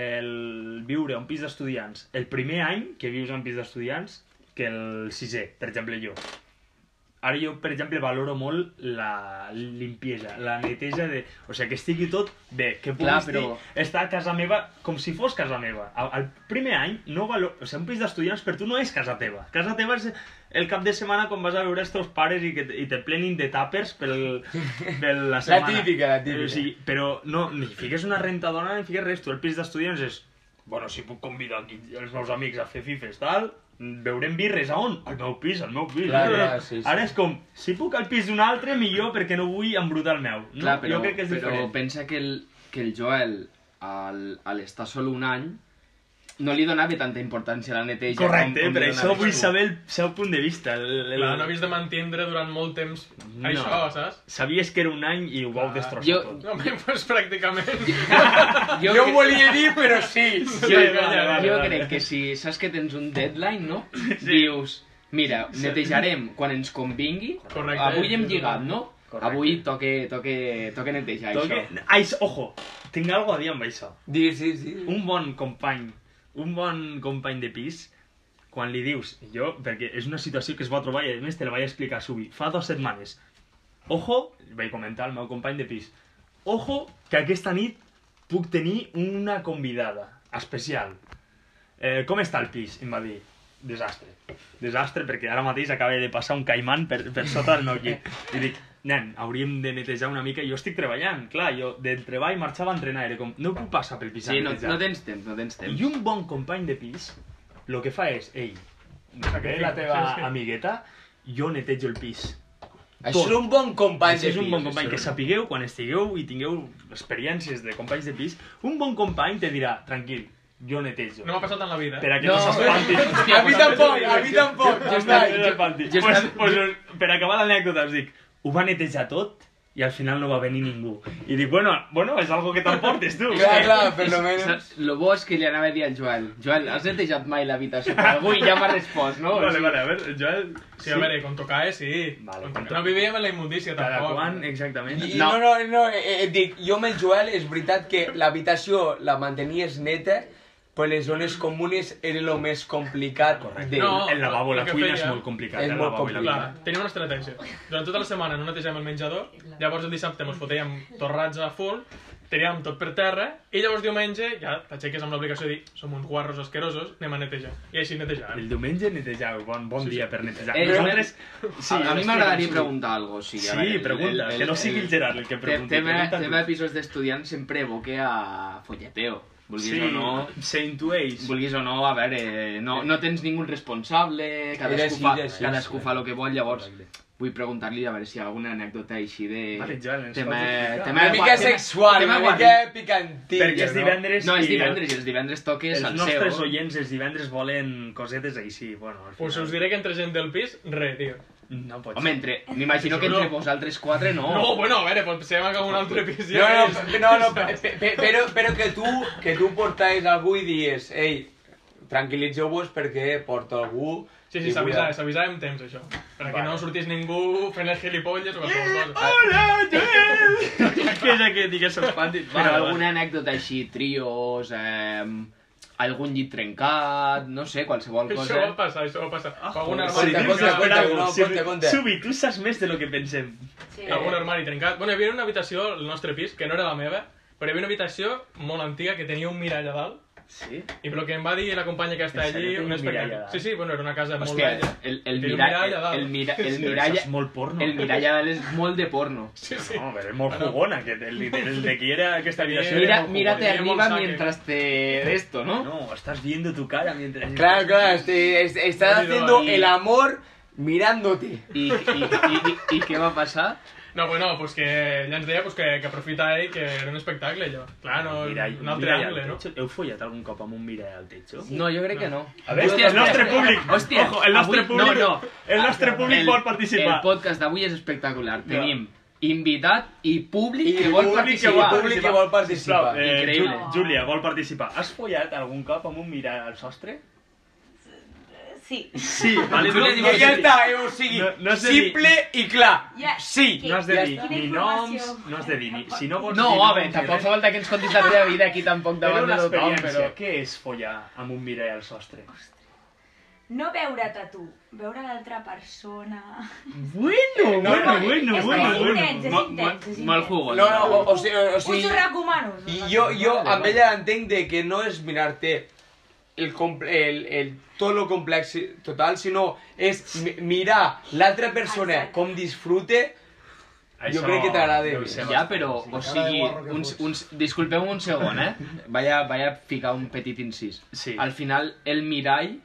S4: el viure a un pis d'estudiants el primer any que vius a un pis d'estudiants que el sisè, per exemple, jo. Ara jo, per exemple, valoro molt la limpiesa, la neteja de... O sigui, que estigui tot bé, que puguis
S3: Clar,
S4: Clar, però...
S3: però-
S4: dir, estar a casa meva com si fos casa meva. Al- Al primer any, no valor... o sigui, un pis d'estudiants per tu no és casa teva. Casa teva és el cap de setmana quan vas a veure els teus pares i, que, i te plenin de tàpers pel, per la setmana.
S2: típica, la típica.
S4: Eh, O sigui, però no, ni fiques una rentadora ni fiques res. Tu al pis d'estudiants és... Bueno, si puc convidar aquí els meus amics a fer fifes, tal, veurem birres a on? Al meu pis, al meu pis.
S2: Clar, clar, sí, sí.
S4: Ara és com, si puc al pis d'un altre, millor, perquè no vull embrutar el meu. No,
S3: Clar, però,
S4: jo crec que és
S3: però
S4: diferent.
S3: pensa que el, que el Joel, al, al estar sol un any, no li donava tanta importància a la neteja.
S4: Correcte,
S3: com- com
S4: per
S3: li
S4: això
S3: donaves
S4: vull
S3: tu.
S4: saber el seu punt de vista. El, el...
S5: Clar, no havies de mantindre durant molt temps
S4: No.
S5: això, saps?
S4: Sabies que era un any i ho
S5: Ah,
S4: vau destrossar
S3: Jo-
S4: tot.
S5: No, home, doncs pràcticament.
S3: Jo,
S2: Jo ho
S3: cre-
S2: volia dir, però sí.
S4: Sí, vale, vale,
S3: jo
S4: vale.
S3: crec que si saps que tens un deadline, no? Dius, mira, netejarem quan ens convingui.
S5: Correcte.
S3: Avui hem lligat, no?
S4: Correcte.
S3: Avui toque, toque, toque netejar
S4: Toque...
S3: això.
S4: Ais, ojo, tinc algo a dir amb això.
S2: Dir, sí, sí.
S4: Un bon company, un bon company de pis, quan li dius, jo, perquè és una situació que es va trobar i a més te la vaig explicar a Subi, fa dues setmanes. Ojo, vaig comentar al meu company de pis, ojo que aquesta nit puc tenir una convidada especial. Eh, com està el pis? Em va dir, desastre. Desastre perquè ara mateix acaba de passar un caiman per, per sota del meu llit. I dic, nen, hauríem de netejar una mica. Jo estic treballant, clar, jo del treball marxava a entrenar. Era com, no puc passar pel pis a
S3: Sí, no,
S4: netejar.
S3: no tens temps, no tens temps.
S4: I un bon company de pis, el que fa és, ei, ve la teva amigueta, jo netejo el pis.
S2: Això és un bon company
S4: Això és un
S2: pis,
S4: bon company
S2: això.
S4: que sapigueu quan estigueu i tingueu experiències de companys de pis, un bon company te dirà, tranquil, jo netejo.
S5: No m'ha passat en la vida.
S4: Per a que
S2: No.
S4: no, s'espanti.
S2: A mi tampoc, a mi tampoc.
S4: Jo
S2: Ja
S4: estava,
S2: està.
S4: jo, jo,
S3: jo
S4: pues,
S3: estava-
S4: pues, per acabar l'anècdota, us dic, ho va netejar tot i al final no va venir ningú. I dic, bueno, bueno és algo que t'emportes, tu.
S2: Clar, clar, per lo menos.
S3: Saps? Lo bo és eh, que li anava a dir al Joel, Joel, has netejat mai l'habitació? Però Avui ja m'ha respost, no? O
S4: Vale,
S3: sigui,
S4: vale, a veure, Joel...
S5: Sí, a veure, quan tocava, eh, sí.
S4: Vale,
S5: Quan
S4: quan
S5: tocava. No vivíem en la immundícia,
S4: Cada
S5: tampoc.
S4: quan, exactament.
S2: I, no, no, no, eh, eh, dic, jo amb el Joel és veritat que l'habitació la mantenies neta, però les zones comunes era el més complicat d'ell.
S5: No,
S4: El lavabo, la
S5: el que
S4: cuina
S5: feia-
S4: és molt complicat.
S2: És
S4: el
S2: molt
S4: lavabo i la
S5: Clar,
S2: complicat.
S4: cuina.
S5: tenia una estratègia. Durant tota la setmana no netegem el menjador, llavors el dissabte mos fotíem torrats a full, teníem tot per terra, i llavors diumenge ja t'aixeques amb l'obligació de dir som uns guarros asquerosos, anem a netejar. I així netejàvem.
S4: El diumenge netegeu, bon, bon dia per netejar.
S3: Eh,
S4: Nosaltres...
S3: Sí, a, a mi
S4: explica,
S3: m'agradaria
S4: sí.
S3: preguntar alguna cosa. Sí, a
S4: Sí,
S3: veure,
S4: pregunta, que no sigui el Gerard el que
S3: te-
S4: pregunti,
S3: Tema,
S4: pregunta tu.
S3: tema episodis d'estudiants sempre evoque a folleteo. Vulguis
S4: Sí,
S3: o no,
S4: s'intueix.
S3: vulguis o no, a veure, no, no tens ningú responsable, cadascú,
S2: així,
S3: fa,
S2: era així,
S3: cadascú
S2: sí.
S3: fa el que vol, llavors vull preguntar-li a veure si hi ha alguna anècdota així de...
S4: Vale, Joan, ens
S3: tema,
S4: pots explicar.
S3: tema,
S2: Una mica
S3: tema-
S2: sexual,
S3: tema
S2: una
S3: guarri.
S2: mica picantilla,
S4: Perquè és
S2: no?
S4: divendres...
S3: No, és
S4: i
S3: divendres, i els divendres toques
S4: Els
S3: al seu.
S4: nostres oients els divendres volen cosetes així, bueno... al
S5: Us
S4: final.
S5: us diré que entre gent del pis, re, tio.
S4: No pot
S3: Home, entre... m'imagino que entre
S5: No.
S3: vosaltres quatre no.
S5: No, bueno, a veure, pot ser que un altre episodi...
S2: No, no, pe- no, no pe- pe- pe- però, però que tu, que tu portais algú i dies, ei, tranquil·litzeu-vos perquè porto algú...
S5: Sí,
S2: i
S5: sí,
S2: cuidado".
S5: s'avisava, s'avisava amb temps, això. Perquè
S2: Vale.
S5: no sortís ningú fent el gilipolles o
S4: Eh,
S5: qualsevol
S4: oh!
S5: cosa.
S4: Hola, Joel! Què és aquest? Digues expandit.
S3: Però alguna anècdota així, trios, eh, algun llit trencat, no sé, qualsevol
S5: Això
S3: cosa.
S5: va passar, això va passar.
S4: Ah,
S5: algun
S2: sí,
S5: armari
S2: sí,
S5: trencat,
S2: sí,
S5: algun-
S2: no, compte, compte.
S4: Subi, tu saps més de lo que pensem.
S6: Sí.
S5: Eh. algun armari trencat. Bueno, hi havia una habitació al nostre pis, que no era la meva, però hi havia una habitació molt antiga que tenia un mirall a dalt.
S4: Sí?
S5: I pel que em va dir la companya que està
S4: En sèrio,
S5: allí,
S4: té un
S5: un
S4: mirall a
S5: espectacle.
S4: dalt?
S5: Sí, sí, bueno, era una casa molt
S3: Hòstia,
S5: vella.
S3: el, el,
S5: Té un
S3: mirall,
S5: mirall a dalt.
S3: el, mira, el
S5: Sí,
S3: mirall,
S4: Això és molt porno.
S3: el mirall a dalt és molt de porno.
S5: Sí, sí.
S4: No, però és molt jugón aquest, el, el, el de qui era aquesta habitació. era
S3: Mira,
S4: molt
S3: mírate
S5: Tenia molt
S3: arriba
S5: saque.
S3: mientras te... de esto,
S4: jugón.
S3: ¿no?
S4: No, estás viendo tu cara mientras...
S2: Claro, claro, este- es- estás
S5: Pero
S2: haciendo
S5: ahí-
S2: el amor mirándote.
S3: I, i, i, i, i què va passar?
S5: No, bueno, pues que ella ens deia pues que, que aprofita ell, que era un espectacle, allò. Clar, ah, no,
S4: Mirall,
S5: un altre
S4: mirall al
S5: angle, no?
S4: techo. Heu follat algun cop amb un mirall al techo?
S3: No, jo crec que no.
S4: A veure,
S3: Hòstia,
S4: el nostre
S3: espera.
S4: públic.
S3: Hòstia,
S4: Ojo, el nostre
S3: avui-
S4: públic,
S3: No, no.
S4: el nostre públic vol participar.
S3: El podcast d'avui és espectacular. Tenim invitat i públic que
S2: públic
S3: vol
S2: que
S3: participar.
S2: vol- públic que vol participar.
S4: Sisplau, eh,
S3: Increïble.
S4: Ju- Júlia, vol participar. Has follat algun cop amb un mirall al sostre?
S6: Sí.
S4: Sí, vale,
S2: Tú le dices, ya está, eh, o sigui,
S4: No- no sé
S2: simple y claro.
S6: Ja,
S2: Sí.
S6: que-
S4: No has de
S6: ja
S4: dir
S6: està.
S4: ni
S6: Quina
S4: noms,
S6: informació.
S4: no has de dir ni... Si no vols
S3: No,
S4: dir
S3: home,
S4: noms,
S3: tampoc
S4: eh?
S3: fa falta que ens contis la teva vida aquí tampoc
S4: Però
S3: davant de
S4: una
S3: tothom, però...
S4: experiència, què és follar amb un mirall al sostre?
S6: No veure't a tu, veure l'altra persona.
S4: Bueno, bueno, bueno,
S6: és
S4: bueno,
S6: molt
S4: bueno.
S6: intens, és
S3: Molt-
S6: intens, és
S3: molt
S6: intens.
S3: jugós.
S2: No, no, o, o sigui, o
S6: Us
S2: sigui,
S6: ho recomano. us ho
S4: Ah,
S2: i jo,
S6: recomano.
S2: jo amb ella entenc de que no és mirar-te el, comple- el, el, tot lo complex total, sinó és mi- mirar l'altra persona
S6: Exacte.
S2: com disfrute
S4: Això
S2: crec que t'agrada,
S4: deu
S2: eh?
S4: ser
S3: Ja,
S4: bastant.
S3: però, o sigui, uns, uns, disculpeu un segon, eh? Vaya, vaya ficar un petit incís.
S4: Sí.
S3: Al final, el mirall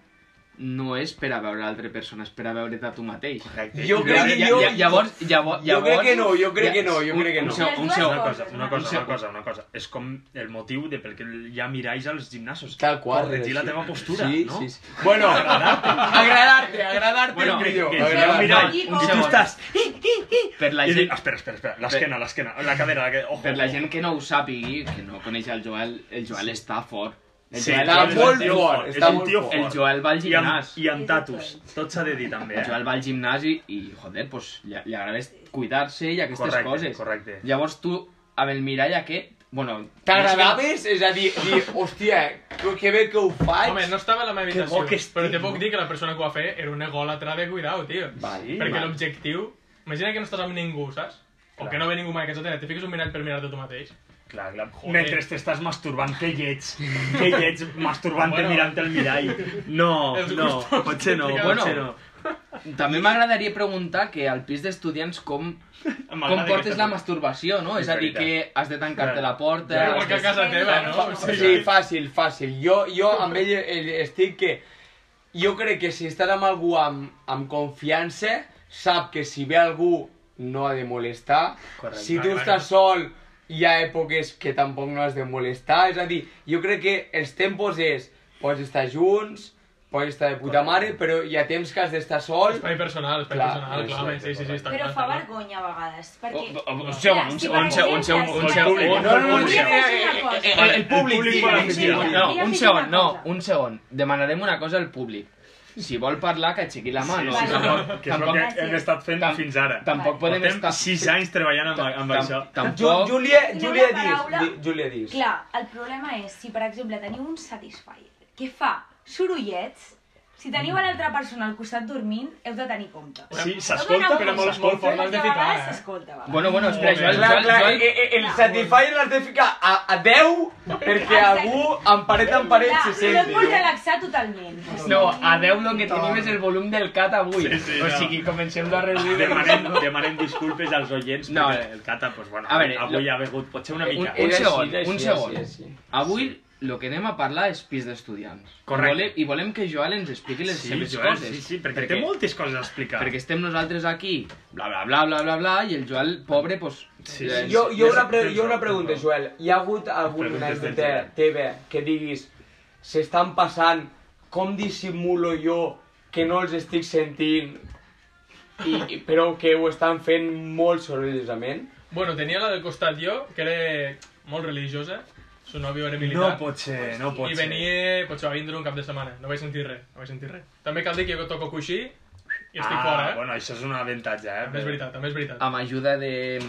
S3: no és per a veure l'altre persona, és per a veure't a tu mateix.
S4: Correcte.
S2: Jo crec que
S3: Lla-
S2: jo-
S3: lla- llavors, llavors,
S2: jo crec que no, jo crec
S3: lla-
S2: que no, jo
S3: un-
S2: crec que
S3: un
S2: no.
S3: segon, un
S6: Les dues
S3: segon.
S4: Una cosa, una cosa,
S3: Sí.
S4: una cosa, una cosa. És com el motiu de pel que hi ha miralls als gimnasos.
S2: Tal qual.
S4: Corregir la
S2: sí.
S4: teva postura,
S2: sí,
S4: no?
S2: Sí, sí. Bueno, agradar-te, agradar-te
S3: Bueno,
S2: bueno,
S4: Que,
S2: millor.
S4: que si hi ha un
S2: agradar-te.
S4: mirall i
S6: Aquí,
S4: tu
S6: com-
S4: estàs...
S3: Per la
S4: I dic,
S3: gent...
S4: espera, espera, espera, l'esquena, l'esquena, la cadera, la cadera, ojo.
S3: Per la gent que no ho sàpigui, que no coneix el Joel, el Joel està fort. El
S4: Sí,
S3: Joel,
S2: està
S3: el,
S2: molt
S4: tio
S2: fort,
S4: és
S2: està
S4: un
S2: molt
S4: tio
S2: fort.
S3: el Joel va al
S4: I
S3: gimnàs.
S4: amb, I amb tatus, tot s'ha de dir també,
S3: El
S4: eh?
S3: Joel va al gimnàs i, i joder, pues, li, li agrada cuidar-se i aquestes
S4: Correcte,
S3: coses.
S4: correcte.
S3: Llavors tu, amb el mirall aquest, bueno...
S2: T'agradaves? És a dir, dir hòstia, que, que bé que ho faig.
S5: Home, no estava a la meva
S4: Que bo que
S5: habitació,
S4: estic,
S5: però te
S4: no?
S5: puc dir que la persona que ho va fer era un ególatra de cuidao, tio.
S4: Vale,
S5: Perquè
S4: vale.
S5: l'objectiu... Imagina que no estàs amb ningú, saps? O
S4: Clar.
S5: que no ve ningú mai a casa teva, te fiques un mirall per mirar-te tu mateix.
S4: Clar, clar.
S5: Joder.
S4: Mentre t'estàs masturbant, que llets, que llets masturbant-te
S5: Bueno.
S4: mirant el mirall. No,
S5: Els
S4: no,
S5: gustos
S4: potser no,
S5: que
S3: Bueno.
S4: potser no.
S3: També m'agradaria preguntar que al pis d'estudiants com, com
S4: M'agrada
S3: portes
S4: aquesta-
S3: la masturbació, no?
S4: És
S3: És a dir, que
S4: veritat.
S3: has de tancar-te
S4: Clar.
S3: la porta...
S4: Ja,
S5: Igual que a casa teva, no? O sigui,
S2: Sí, fàcil, fàcil. Jo, jo amb ell eh, estic que... Jo crec que si estàs amb algú amb, amb confiança, sap que si ve algú no ha de molestar.
S4: Correcte.
S2: si tu
S5: Ah,
S2: estàs sol, hi ha èpoques que tampoc no has de molestar. És a dir, jo crec que els tempos és... Pots estar junts, pots estar de puta mare, però hi ha temps que has d'estar sol.
S5: Espai personal, espai
S2: Clar,
S5: personal, clar, home, sí, sí, sí, està
S6: Però
S5: clar.
S6: fa
S5: està clar.
S6: vergonya a vegades, perquè...
S3: O- o- un segon, un segon, un segon, un segon, un segon.
S2: No, no, no, no, eh, eh, eh, el públic,
S4: El públic
S2: digue,
S4: vol
S2: el
S4: decidir.
S2: públic.
S3: No, un segon, no, un segon. Demanarem una cosa al públic. Si vol parlar, que aixequi la mà,
S4: Sí,
S3: no?
S4: sí,
S6: Vale.
S3: tampoc,
S4: que és el
S3: tampoc,
S4: que hem estat fent
S3: tam-
S4: fins ara.
S3: tampoc podem
S4: Portem
S3: estar...
S4: sis anys treballant amb, amb
S3: tam-
S4: això.
S2: Ju-
S3: Tampoc...
S2: Júlia,
S6: Una
S2: Júlia dis,
S6: paraula-
S2: di, Júlia dis.
S6: Clar, el problema és si, per exemple, teniu un Satisfyer que fa sorollets, si teniu a l'altra persona al costat dormint, heu de tenir compte.
S4: Sí,
S6: Heu
S4: s'escolta,
S5: però
S6: de donar
S5: molt-
S6: compte,
S5: molt fort l'has de
S6: perquè a
S5: ficar,
S6: vegades
S5: eh?
S6: S'escolta, a vegades.
S3: Bueno, bueno, espera,
S5: Molt bé.
S3: Joel,
S2: Clar,
S3: Joel,
S2: clar,
S3: Joel...
S2: eh, eh, el Satisfyer l'has de ficar a, a 10 perquè algú en paret en paret
S6: Clar,
S2: se
S6: no et
S2: senti.
S6: pots
S2: no?
S6: relaxar totalment.
S3: No, a 10 lo que tenim és el volum del cat avui.
S4: Sí, sí,
S3: o
S4: no.
S3: sigui, comencem-lo a reduir.
S4: Demanem, demanem disculpes als oients,
S3: No,
S4: perquè el Cata, pues, bueno,
S3: a veure,
S4: avui
S3: lo-
S4: ha begut potser una
S3: Un,
S4: mica.
S3: un
S2: Era així,
S3: segon,
S2: era així,
S3: un
S2: era
S3: segon.
S2: així, era així.
S3: Avui lo que anem a parlar és pis d'estudiants.
S4: Correcte.
S3: Volem, I volem que Joel ens expliqui les
S4: Sí,
S3: seves
S4: Joel,
S3: coses.
S4: sí, sí, perquè, té moltes coses a explicar.
S3: perquè estem nosaltres aquí, bla, bla, bla, bla, bla, bla, i el Joel, pobre, pues...
S4: Sí,
S3: eh,
S2: Jo, jo, una pre
S4: Tens
S2: jo una
S4: raó,
S2: pregunta,
S4: tens raó.
S2: Joel. Hi ha hagut alguna
S4: Preguntes del
S2: anècdota
S4: Joel.
S2: teva que diguis s'estan passant, com dissimulo jo que no els estic sentint? I, i, però que ho estan fent molt sorollosament.
S5: Bueno, tenia la del costat jo, que era molt religiosa, su novio era militar.
S4: No pot ser, no pot
S5: I
S4: ser.
S5: venia, potser va vindre un cap de setmana, no vaig sentir res, no vaig sentir res. També cal dir que jo toco coixí i estic
S4: ah,
S5: fora, eh?
S4: bueno, això és un avantatge, eh?
S5: També és veritat, també és veritat.
S3: Amb ajuda de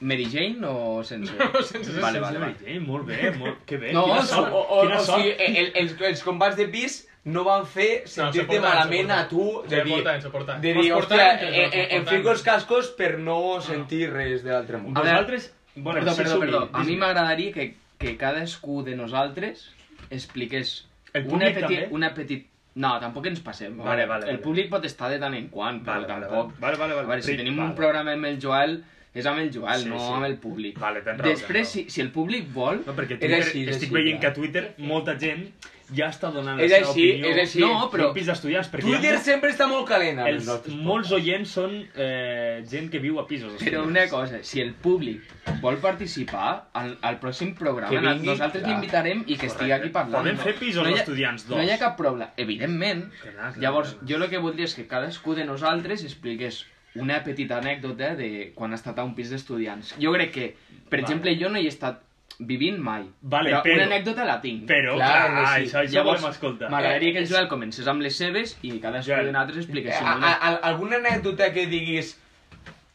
S3: Mary Jane o sense?
S5: No, sense, sense,
S3: Vale,
S4: Vale,
S3: vale,
S4: vale.
S3: vale.
S4: Eh, molt bé, molt... que bé,
S3: No,
S4: quina
S3: o-
S4: sort,
S2: o, o, eh,
S4: quina
S2: o
S4: sort.
S2: sigui, el, els, els combats de pis no van fer sentir-te
S5: s'aporten,
S2: no, malament a
S5: s'aporten.
S2: tu de dir,
S5: S'aporten, s'aporten.
S2: de
S5: No
S2: dir
S5: es porten,
S2: hòstia,
S5: però
S2: eh, eh, em
S5: s'aporten.
S2: fico els cascos per no sentir res de l'altre món.
S3: A veure,
S4: Vosaltres... Bueno,
S3: perdó,
S4: sí,
S3: perdó,
S4: som-hi.
S3: perdó. A mi
S4: Dis-
S3: m'agradaria que, que cadascú de nosaltres expliqués
S4: El
S3: una,
S4: públic també?
S3: una petit... No, tampoc ens passem.
S4: Vale, vale,
S3: El
S4: vale.
S3: públic pot estar de tant en quant, però
S4: Vale, vale,
S3: tampoc...
S4: vale, vale, vale.
S3: A veure, si
S4: Ric,
S3: tenim
S4: vale.
S3: un programa amb el Joel, és amb el Joel,
S4: Sí,
S3: no
S4: sí.
S3: amb el públic.
S4: Vale, tens raó, tens
S3: Després,
S4: raó.
S3: si, si el públic vol...
S4: No, perquè
S2: És
S4: Twitter,
S2: així, és
S4: estic
S2: així,
S4: veient
S2: ja.
S4: que a Twitter molta gent ja està donant la
S2: És
S4: seva
S2: així,
S4: opinió.
S2: és així.
S3: No, però-
S4: No, pis d'estudiants, perquè
S2: Twitter
S4: hi ha
S2: sempre està molt calent. amb
S4: els,
S2: nosaltres.
S4: molts oients són eh, gent que viu a pisos.
S3: Però
S4: d'estudiants.
S3: una cosa, si el públic vol participar al, al pròxim programa,
S2: Que vingui,
S3: nosaltres
S2: clar.
S3: l'invitarem i que estigui
S4: Correcte.
S3: aquí parlant.
S4: Podem fer pisos
S3: hi ha-
S4: d'estudiants, dos.
S3: No hi ha cap problema, evidentment.
S4: Clar, clar,
S3: Llavors,
S4: clar.
S3: jo el que voldria és que cadascú de nosaltres expliqués una petita anècdota de quan ha estat a un pis d'estudiants. Jo crec que, per
S4: Vale.
S3: exemple, jo no hi he estat vivint mai,
S4: Vale,
S3: però,
S4: però-
S3: una anècdota la tinc.
S4: Però, clar,
S2: Clar, sí.
S4: això, això
S3: Llavors,
S4: volem escoltar.
S3: M'agradaria
S2: Eh,
S3: que el Joel comencés amb les seves i cadascú
S4: Joel.
S3: de nosaltres expliqués
S2: A-
S3: una.
S2: a- a- alguna anècdota que diguis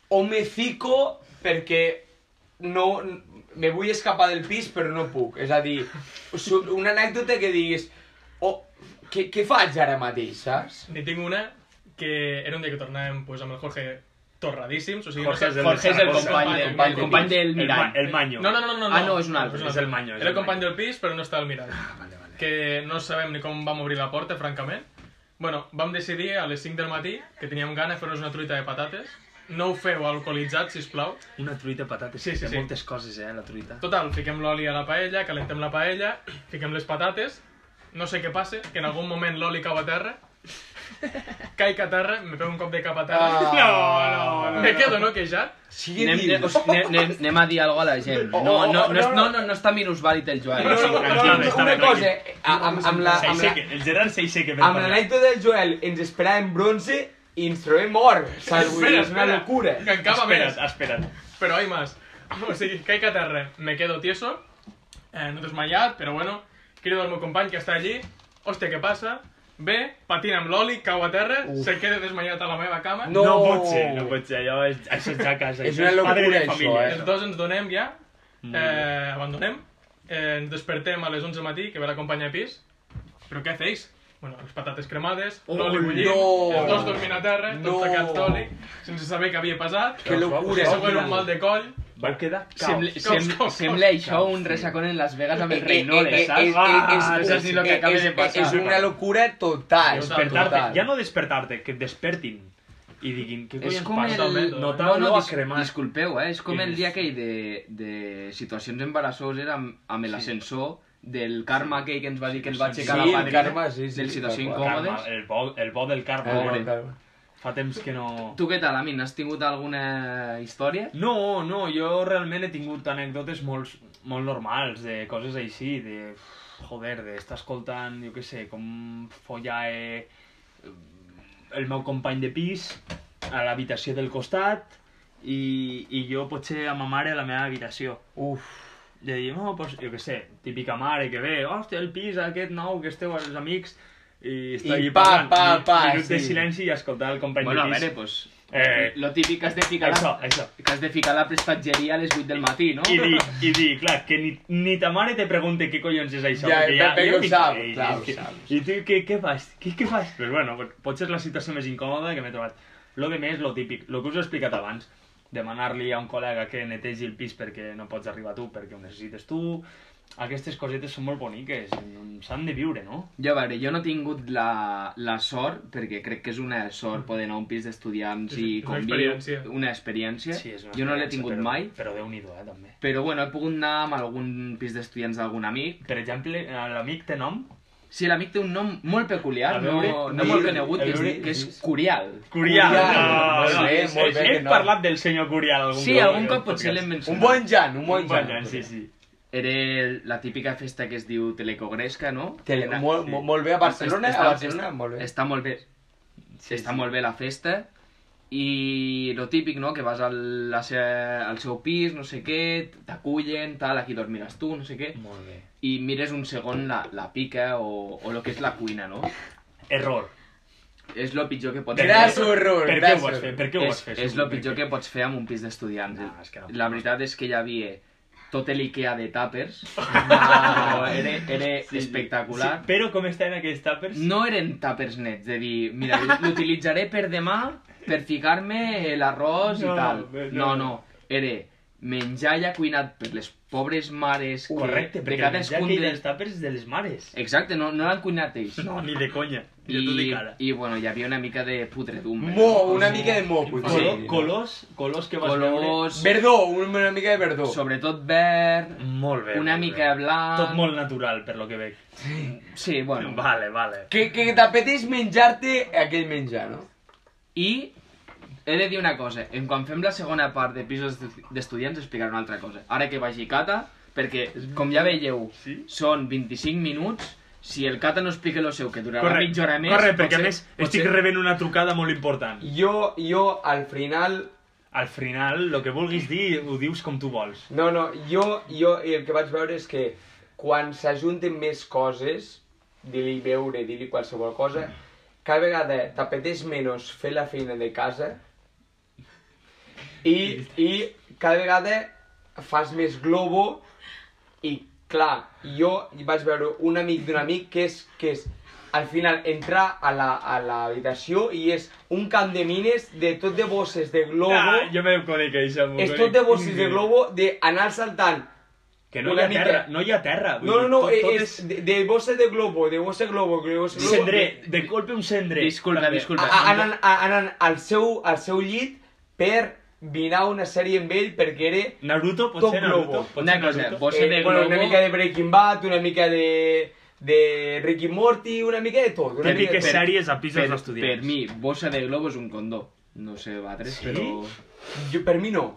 S2: o me fico perquè no, me vull escapar del pis però no puc, és a dir su- una anècdota que diguis o, què, què faig ara mateix, saps?
S5: Ni tinc una que era un dia que tornàvem pues, amb el Jorge torradíssims, o sigui,
S4: Jorge és el
S3: Jorge és el
S4: Saragossa.
S3: company, del-
S5: Company,
S3: el company del
S4: El, ma
S3: Mirall.
S2: eh,
S4: el Manyo.
S5: No, no, no, no, no.
S3: Ah, no, és un altre,
S4: és el Manyo, és el
S5: Era el company
S4: Manyo.
S5: del pis, però no està al mirall.
S4: Vale, vale.
S5: Que no sabem ni com vam obrir la porta, francament. Bueno, vam decidir a les 5 del matí, que teníem gana de fer-nos una truita de patates. No ho feu alcoholitzat, si us plau.
S4: Una truita patates.
S5: Sí, sí,
S4: Té
S5: sí.
S4: moltes coses, eh, la truita.
S5: Total, fiquem l'oli a la paella, calentem la paella, fiquem les patates, no sé què passa, que en algun moment l'oli cau a terra, caic a terra, me pego un cop de cap a terra,
S4: No, no, no.
S5: me quedo no quejat,
S2: Sí,
S3: Anem, eh, anem, anem, anem a dir alguna cosa a la gent.
S2: Oh,
S3: No, no, no, no, no, no, no està minusvàlid el Joel.
S2: no, no, no, no,
S4: Està
S2: una
S4: bé,
S2: cosa, eh, a- amb, amb la, amb la,
S4: Seiseque, el Gerard Seiseque. ven
S2: amb
S4: per allà.
S2: l'anècdota del Joel ens esperàvem bronze i ens trobem mort, saps? Vull dir,
S5: Espera,
S2: és una
S5: espera.
S2: locura.
S5: que encava més.
S4: Espera't, espera't.
S5: Però hay más. O sigui, caic a terra, me quedo tieso, eh, no desmaiat, però bueno, crido al meu company que està allí, hòstia, què passa? Ve, patina amb l'oli, cau a terra, se queda desmaiat a la meva cama,
S2: No.
S4: No pot ser, no pot ser. Allò és, això és ja casa.
S2: És
S4: això
S2: una
S4: padre
S2: locura,
S4: de
S2: això,
S4: família.
S2: eh?
S5: els dos ens donem ja, eh, abandonem, eh, ens despertem a les 11 del matí, que ve la companya de pis, però què feu? Bueno, les patates cremades,
S2: Oh,
S5: l'oli bullit,
S2: no.
S5: els dos dormint a terra,
S2: No.
S5: tots tacats d'oli, sense saber què havia passat,
S2: Que locura.
S5: següent un mal de coll,
S4: Vau quedar caos.
S3: Sembla,
S5: Caos,
S3: sem,
S5: caos, caos,
S3: sembla
S4: caos,
S3: això
S4: caos,
S3: un
S4: sí.
S3: resacón en Las Vegas amb el
S2: Eh, eh,
S3: Reynolds,
S2: eh, eh,
S3: saps?
S2: eh,
S3: Ah,
S2: eh,
S3: no saps ni lo que
S2: eh,
S3: acaba
S2: és-
S3: de passar.
S2: És una locura total.
S4: Ah, Despertar-te,
S2: total.
S4: ja no despertar-te, que et despertin i diguin què
S3: És
S4: collons
S3: com
S4: passa.
S3: el...
S4: Notar
S3: no, no,
S4: olor a
S3: dis-
S4: cremat.
S3: disculpeu, eh? És com el
S4: Sí.
S3: dia aquell de, de situacions embarassoses amb, amb l'ascensor del karma aquell que ens va dir que el va aixecar
S2: Sí,
S3: la
S2: el
S3: padrina,
S2: karma, sí, sí,
S3: del situació
S2: tal
S4: Karma,
S3: incòmodes.
S4: el bo, el bo del karma.
S3: Pobre.
S4: no? Fa temps que no...
S3: Tu què tal, Amin? Has tingut alguna història?
S4: No, no, jo realment he tingut anècdotes molt, molt normals, de coses així, de... Joder, d'estar escoltant, jo què sé, com follar eh, el meu company de pis a l'habitació del costat i, i jo potser a ma mare a la meva habitació. Uf, de dir, no, pues, jo què sé, típica mare que ve, hòstia, el pis aquest nou que esteu els amics, i està
S2: I
S4: allí
S2: pa,
S4: parlant,
S2: pa,
S4: mi-
S2: pa,
S4: minut de
S2: sí.
S4: silenci i escoltar el company
S3: Bueno, a
S4: de pis.
S3: veure, pues...
S4: Eh.
S3: Lo típic que has de ficar...
S4: Això,
S3: La,
S4: això.
S3: que has de ficar la prestatgeria a les 8 del matí, no?
S4: I dir, i dir, clar, que ni, ni ta mare te pregunte què collons és això.
S2: Ja,
S4: perquè
S2: perquè ho
S4: ni-
S2: sap,
S4: i-
S2: clar,
S4: i-
S2: ho
S4: que-
S2: sap.
S4: I tu, què, què fas? Què, què fas? Però bueno, pot- potser és la situació més incòmoda que m'he trobat. Lo de més, lo típic, lo que us he explicat abans, demanar-li a un col·lega que netegi el pis perquè no pots arribar tu, perquè ho necessites tu... Aquestes cosetes són molt boniques, s'han de viure, no?
S3: Jo, a veure, jo no he tingut la, la sort, perquè crec que és una sort poder anar a un pis d'estudiants
S5: Sí, sí,
S3: i
S5: és una
S3: conviure
S5: experiència.
S3: una experiència.
S4: és una
S3: jo no l'he
S4: experiència,
S3: tingut
S4: però,
S3: mai,
S4: Però Déu-n'hi-do, eh, també.
S3: però bueno, he pogut anar amb algun pis d'estudiants d'algun amic.
S4: Per exemple, eh, l'amic té nom?
S3: Sí, l'amic té un nom molt peculiar,
S4: A
S3: no,
S4: veure,
S3: no
S4: a
S3: molt
S4: veure,
S3: conegut, que
S4: a
S3: és,
S4: veure,
S3: que és Curial.
S4: Curial.
S2: Curial.
S4: Ah,
S2: Molt bé,
S4: sí,
S2: molt
S4: sí,
S2: bé
S4: Hem
S2: que no.
S4: parlat del senyor Curial algun
S3: Sí,
S4: cop. eh,
S3: algun
S4: en el
S3: cop potser
S4: podcast.
S3: l'hem
S2: Un
S3: mencionat.
S2: bon Jan, un bon
S4: Bon
S2: Jan.
S4: Jan, sí, sí.
S3: Era la típica festa que es diu Telecogresca, no?
S2: Tele,
S3: Era-
S2: molt, molt bé a Barcelona,
S3: Està-
S2: a
S3: està-
S2: Barcelona, molt bé.
S3: Està molt bé. Sí, està molt bé la festa I lo típic, no?, que vas al, la se, al seu pis, no sé què, t'acullen, tal, aquí dormiràs tu, no sé què,
S4: Molt bé.
S3: i mires un segon la, la pica o, o lo que és la cuina, no?
S4: Error.
S3: És lo pitjor que pot
S2: Gràcies, horror,
S4: Per què ho vas fer?
S2: gràcies.
S4: Per què ho vas
S3: és,
S4: fer?
S3: és
S4: Segur,
S3: el pitjor
S4: per
S3: que pots fer amb un pis d'estudiants.
S4: No, és que no.
S3: La veritat és que hi havia tot l'IKEA de tàpers. No, era, era
S4: què?
S3: espectacular.
S4: Sí, però com estaven aquells tàpers?
S3: No eren tàpers nets, de dir, mira, l'utilitzaré per demà per ficar-me l'arròs
S4: No,
S3: i tal.
S4: bé,
S3: No, no,
S4: no.
S3: era menjar ja cuinat per les pobres mares que-
S4: Correcte,
S3: de
S4: perquè el menjar
S3: cadascun
S4: aquell
S3: dels...
S4: dels tàpers és de les mares.
S3: Exacte, no, no l'han cuinat ells.
S4: No, ni de conya. I, jo t'ho
S3: Eh, I,
S4: dic ara.
S3: I, bueno, hi havia una mica de putredumbre.
S2: Mo,
S3: no?
S2: una
S3: Sí.
S2: mica de mo, potser.
S4: Color,
S2: Sí.
S4: colors, colors que vas veure...
S3: Colors...
S2: Verdó, una mica de verdó.
S3: Sobretot verd,
S4: Molt bé.
S3: una
S4: molt
S3: mica
S4: bé.
S3: blanc...
S4: Tot molt natural, per lo que veig.
S3: Sí, bueno.
S4: Vale, vale.
S2: Que, que t'apeteix menjar-te aquell menjar, no?
S3: I he de dir una cosa, en quan fem la segona part de pisos d'estu- d'estudiants explicaré una altra cosa. Ara que vagi Cata, perquè, com ja veieu,
S4: Sí?
S3: són 25 minuts, si el Cata no explica el seu, que durarà
S4: Corre,
S3: mitja hora més...
S4: corre, perquè a més estic
S3: potser-
S4: rebent una trucada molt important.
S2: Jo, jo, al final...
S4: Al final, el que vulguis dir, ho dius com tu vols.
S2: No, no, jo, jo eh, el que vaig veure és que quan s'ajunten més coses, dir-li veure, dir-li qualsevol cosa, cada vegada t'apeteix menys fer la feina de casa i, i cada vegada fas més globo i clar, jo vaig veure un amic d'un amic que és, que és al final entrar a la- a l'habitació i és un camp de mines de tot de bosses de globo
S4: Ah, jo me conec, això. m'ho
S2: és tot
S4: conec.
S2: de bosses de globo d'anar saltant.
S4: Que no hi
S2: Una
S4: ha
S2: mica.
S4: terra, no hi ha terra. vull
S2: No, no,
S4: dir,
S2: no,
S4: tot,
S2: eh,
S4: tot
S2: és de, de bosses de globo, de bosses de globo, de bosses de globo.
S4: Cendré, de colpe un cendré.
S3: Disculpa,
S4: També.
S3: disculpa.
S2: A- a- Anant, a- anant al, seu, al seu llit per vinar una sèrie amb ell perquè era...
S4: Naruto, pot
S2: Tot
S4: ser
S2: globo.
S4: Naruto? Pot
S3: Una
S4: ser
S3: cosa,
S4: Naruto?
S3: vos- Bossa de
S2: bueno, una
S3: globo.
S2: mica de Breaking Bad, una mica de, de Ricky Morty, una mica de tot. Una
S4: Té
S2: mica de
S4: piques
S2: tot.
S4: sèries a pisos
S3: per,
S4: d'estudiants.
S3: per mi, bossa de globo és un condó. No sé batres,
S4: Sí?
S3: però...
S2: Jo, per mi no.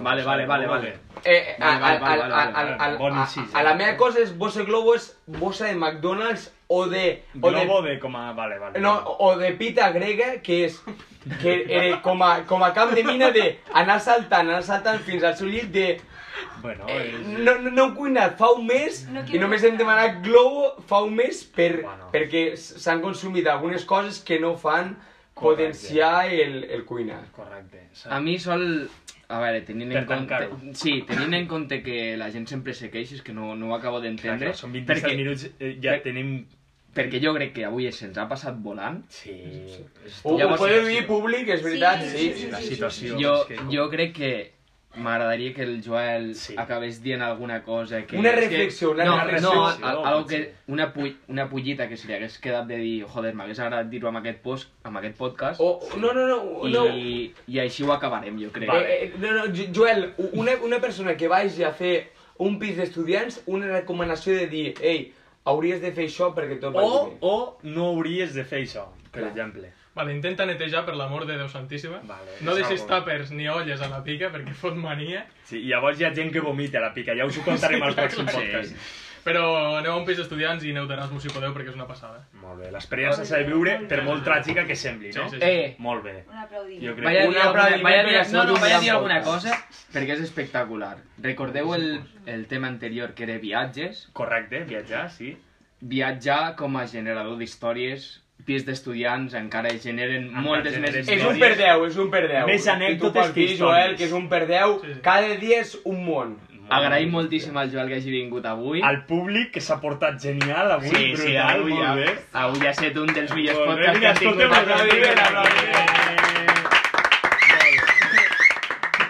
S3: Vale, vale, vale, vale.
S2: Eh, eh, a, a,
S3: Vale,
S2: a,
S3: vale,
S2: a,
S3: vale,
S2: a,
S3: vale,
S2: a,
S4: bon
S2: a,
S4: incís,
S2: a, la
S4: eh?
S2: meva cosa és bossa de globo és bossa de McDonald's o de... O de
S4: Globo de com a... Vale, vale.
S2: No, o de pita grega, que és que eh, com, a, com a camp de mina de anar saltant, anar saltant fins al seu llit de
S4: Bueno, és...
S2: no, no, no hem cuinat fa un mes
S6: No
S2: i
S6: quiero
S2: només
S6: cuinar.
S2: hem demanat globo fa un mes per,
S4: Bueno.
S2: perquè s- s'han consumit algunes coses que no fan potenciar el, el cuinar.
S4: Correcte.
S3: A mi sol... A veure, tenint
S4: Per
S3: en compte...
S4: tancar-ho.
S3: Sí, tenint en compte que la gent sempre se queixa, és que no, no ho acabo
S4: Clar,
S3: d'entendre.
S4: clar, són 27
S3: perquè-
S4: minuts, eh, ja
S3: per-
S4: tenim...
S3: Perquè jo crec que avui se'ns ha passat volant.
S4: Sí.
S2: Ho, ho
S3: Llavors-
S2: podeu dir públic, és veritat, sí.
S6: sí,
S4: La
S6: sí, sí,
S4: situació...
S3: jo,
S4: és que-
S3: jo crec que m'agradaria que el Joel
S4: Sí.
S3: sí. acabés dient alguna cosa que...
S2: Una
S3: és que-
S2: reflexió, una
S3: no,
S2: reflexió.
S3: No, a, a, algo que,
S4: potser.
S3: una, pu una pollita que se li hagués quedat de dir joder, m'hagués agradat dir-ho amb aquest, post, amb aquest podcast
S2: O, no, no, no,
S3: i,
S2: Oh, no.
S3: i així ho acabarem, jo crec.
S2: Eh, eh, no, no, Jo- Joel, u- una, una persona que vagi a fer un pis d'estudiants, una recomanació de dir, ei, hauries de fer això perquè tot vagi
S4: O,
S2: bé.
S4: o no hauries de fer això, per
S2: Clar.
S4: exemple.
S5: Vale, intenta netejar, per l'amor de Déu Santíssima.
S4: Vale,
S5: no deixis
S4: és algo.
S5: tàpers ni olles a la pica, perquè fot mania.
S4: Sí, i llavors hi ha gent que vomita a la pica, ja us ho contarem al pròxim podcast.
S5: Però aneu a un pis d'estudiants i aneu d'Erasmus si podeu, perquè és una passada.
S4: Molt bé, l'experiència s'ha de viure, per molt tràgica que sembli, no?
S5: Sí, sí, sí.
S3: Eh,
S4: Molt bé.
S6: Un aplaudiment.
S4: Jo crec
S3: Vaya a dir
S2: Un
S3: alguna,
S2: aplaudiment
S3: vaya a
S2: perquè ha
S3: dir, no,
S2: sigut
S3: no,
S2: un
S3: vaya a
S2: gran
S3: dir alguna
S2: podcast.
S3: cosa perquè és espectacular. Recordeu el, el tema anterior que era viatges?
S4: Correcte, viatjar, sí.
S3: Viatjar com a generador d'històries, pis d'estudiants encara generen
S4: Encara
S3: moltes més
S4: generen
S2: És
S3: històries.
S2: un per 10, és un per 10.
S4: Més anècdotes
S2: I tu pots
S4: que
S2: dir,
S4: històries.
S2: Joel, que és un per 10,
S5: Sí, sí.
S2: cada dia és un món.
S3: Agraïm moltíssim al Joel que hagi vingut avui.
S4: Al públic, que s'ha portat genial avui, brutal,
S3: avui,
S4: molt bé.
S3: ja, avui ja ha estat un dels millors
S4: Molt bé,
S3: podcasts que
S4: vinga,
S3: ha tingut.
S4: escoltem el
S3: Aplaudiment,
S4: Rivera,
S3: aplaudiment.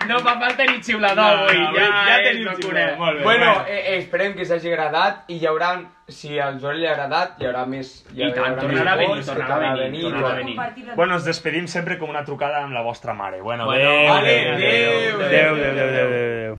S3: No fa falta ni xiulador
S4: No,
S3: avui,
S4: no,
S3: ja,
S4: avui
S3: ja
S4: ja
S3: tenim
S4: tenim
S3: locura.
S4: xiulador, molt bé.
S2: Bueno,
S4: bueno.
S2: eh, eh, esperem que s'hagi agradat i hi haurà, si al Joel li ha agradat, hi haurà més... Hi
S3: I
S2: haurà
S3: tant,
S2: més
S3: tornarà a venir,
S2: vots,
S3: tornarà a venir, tornarà a
S2: tot.
S3: venir.
S6: Compartir-lo.
S4: Bueno, ens despedim sempre com una trucada amb la vostra mare. Bueno,
S3: Bueno,
S4: adéu,
S2: vale,
S4: adéu, adéu,
S2: adéu,
S4: adéu, adéu,
S2: adéu,
S4: adéu, adéu.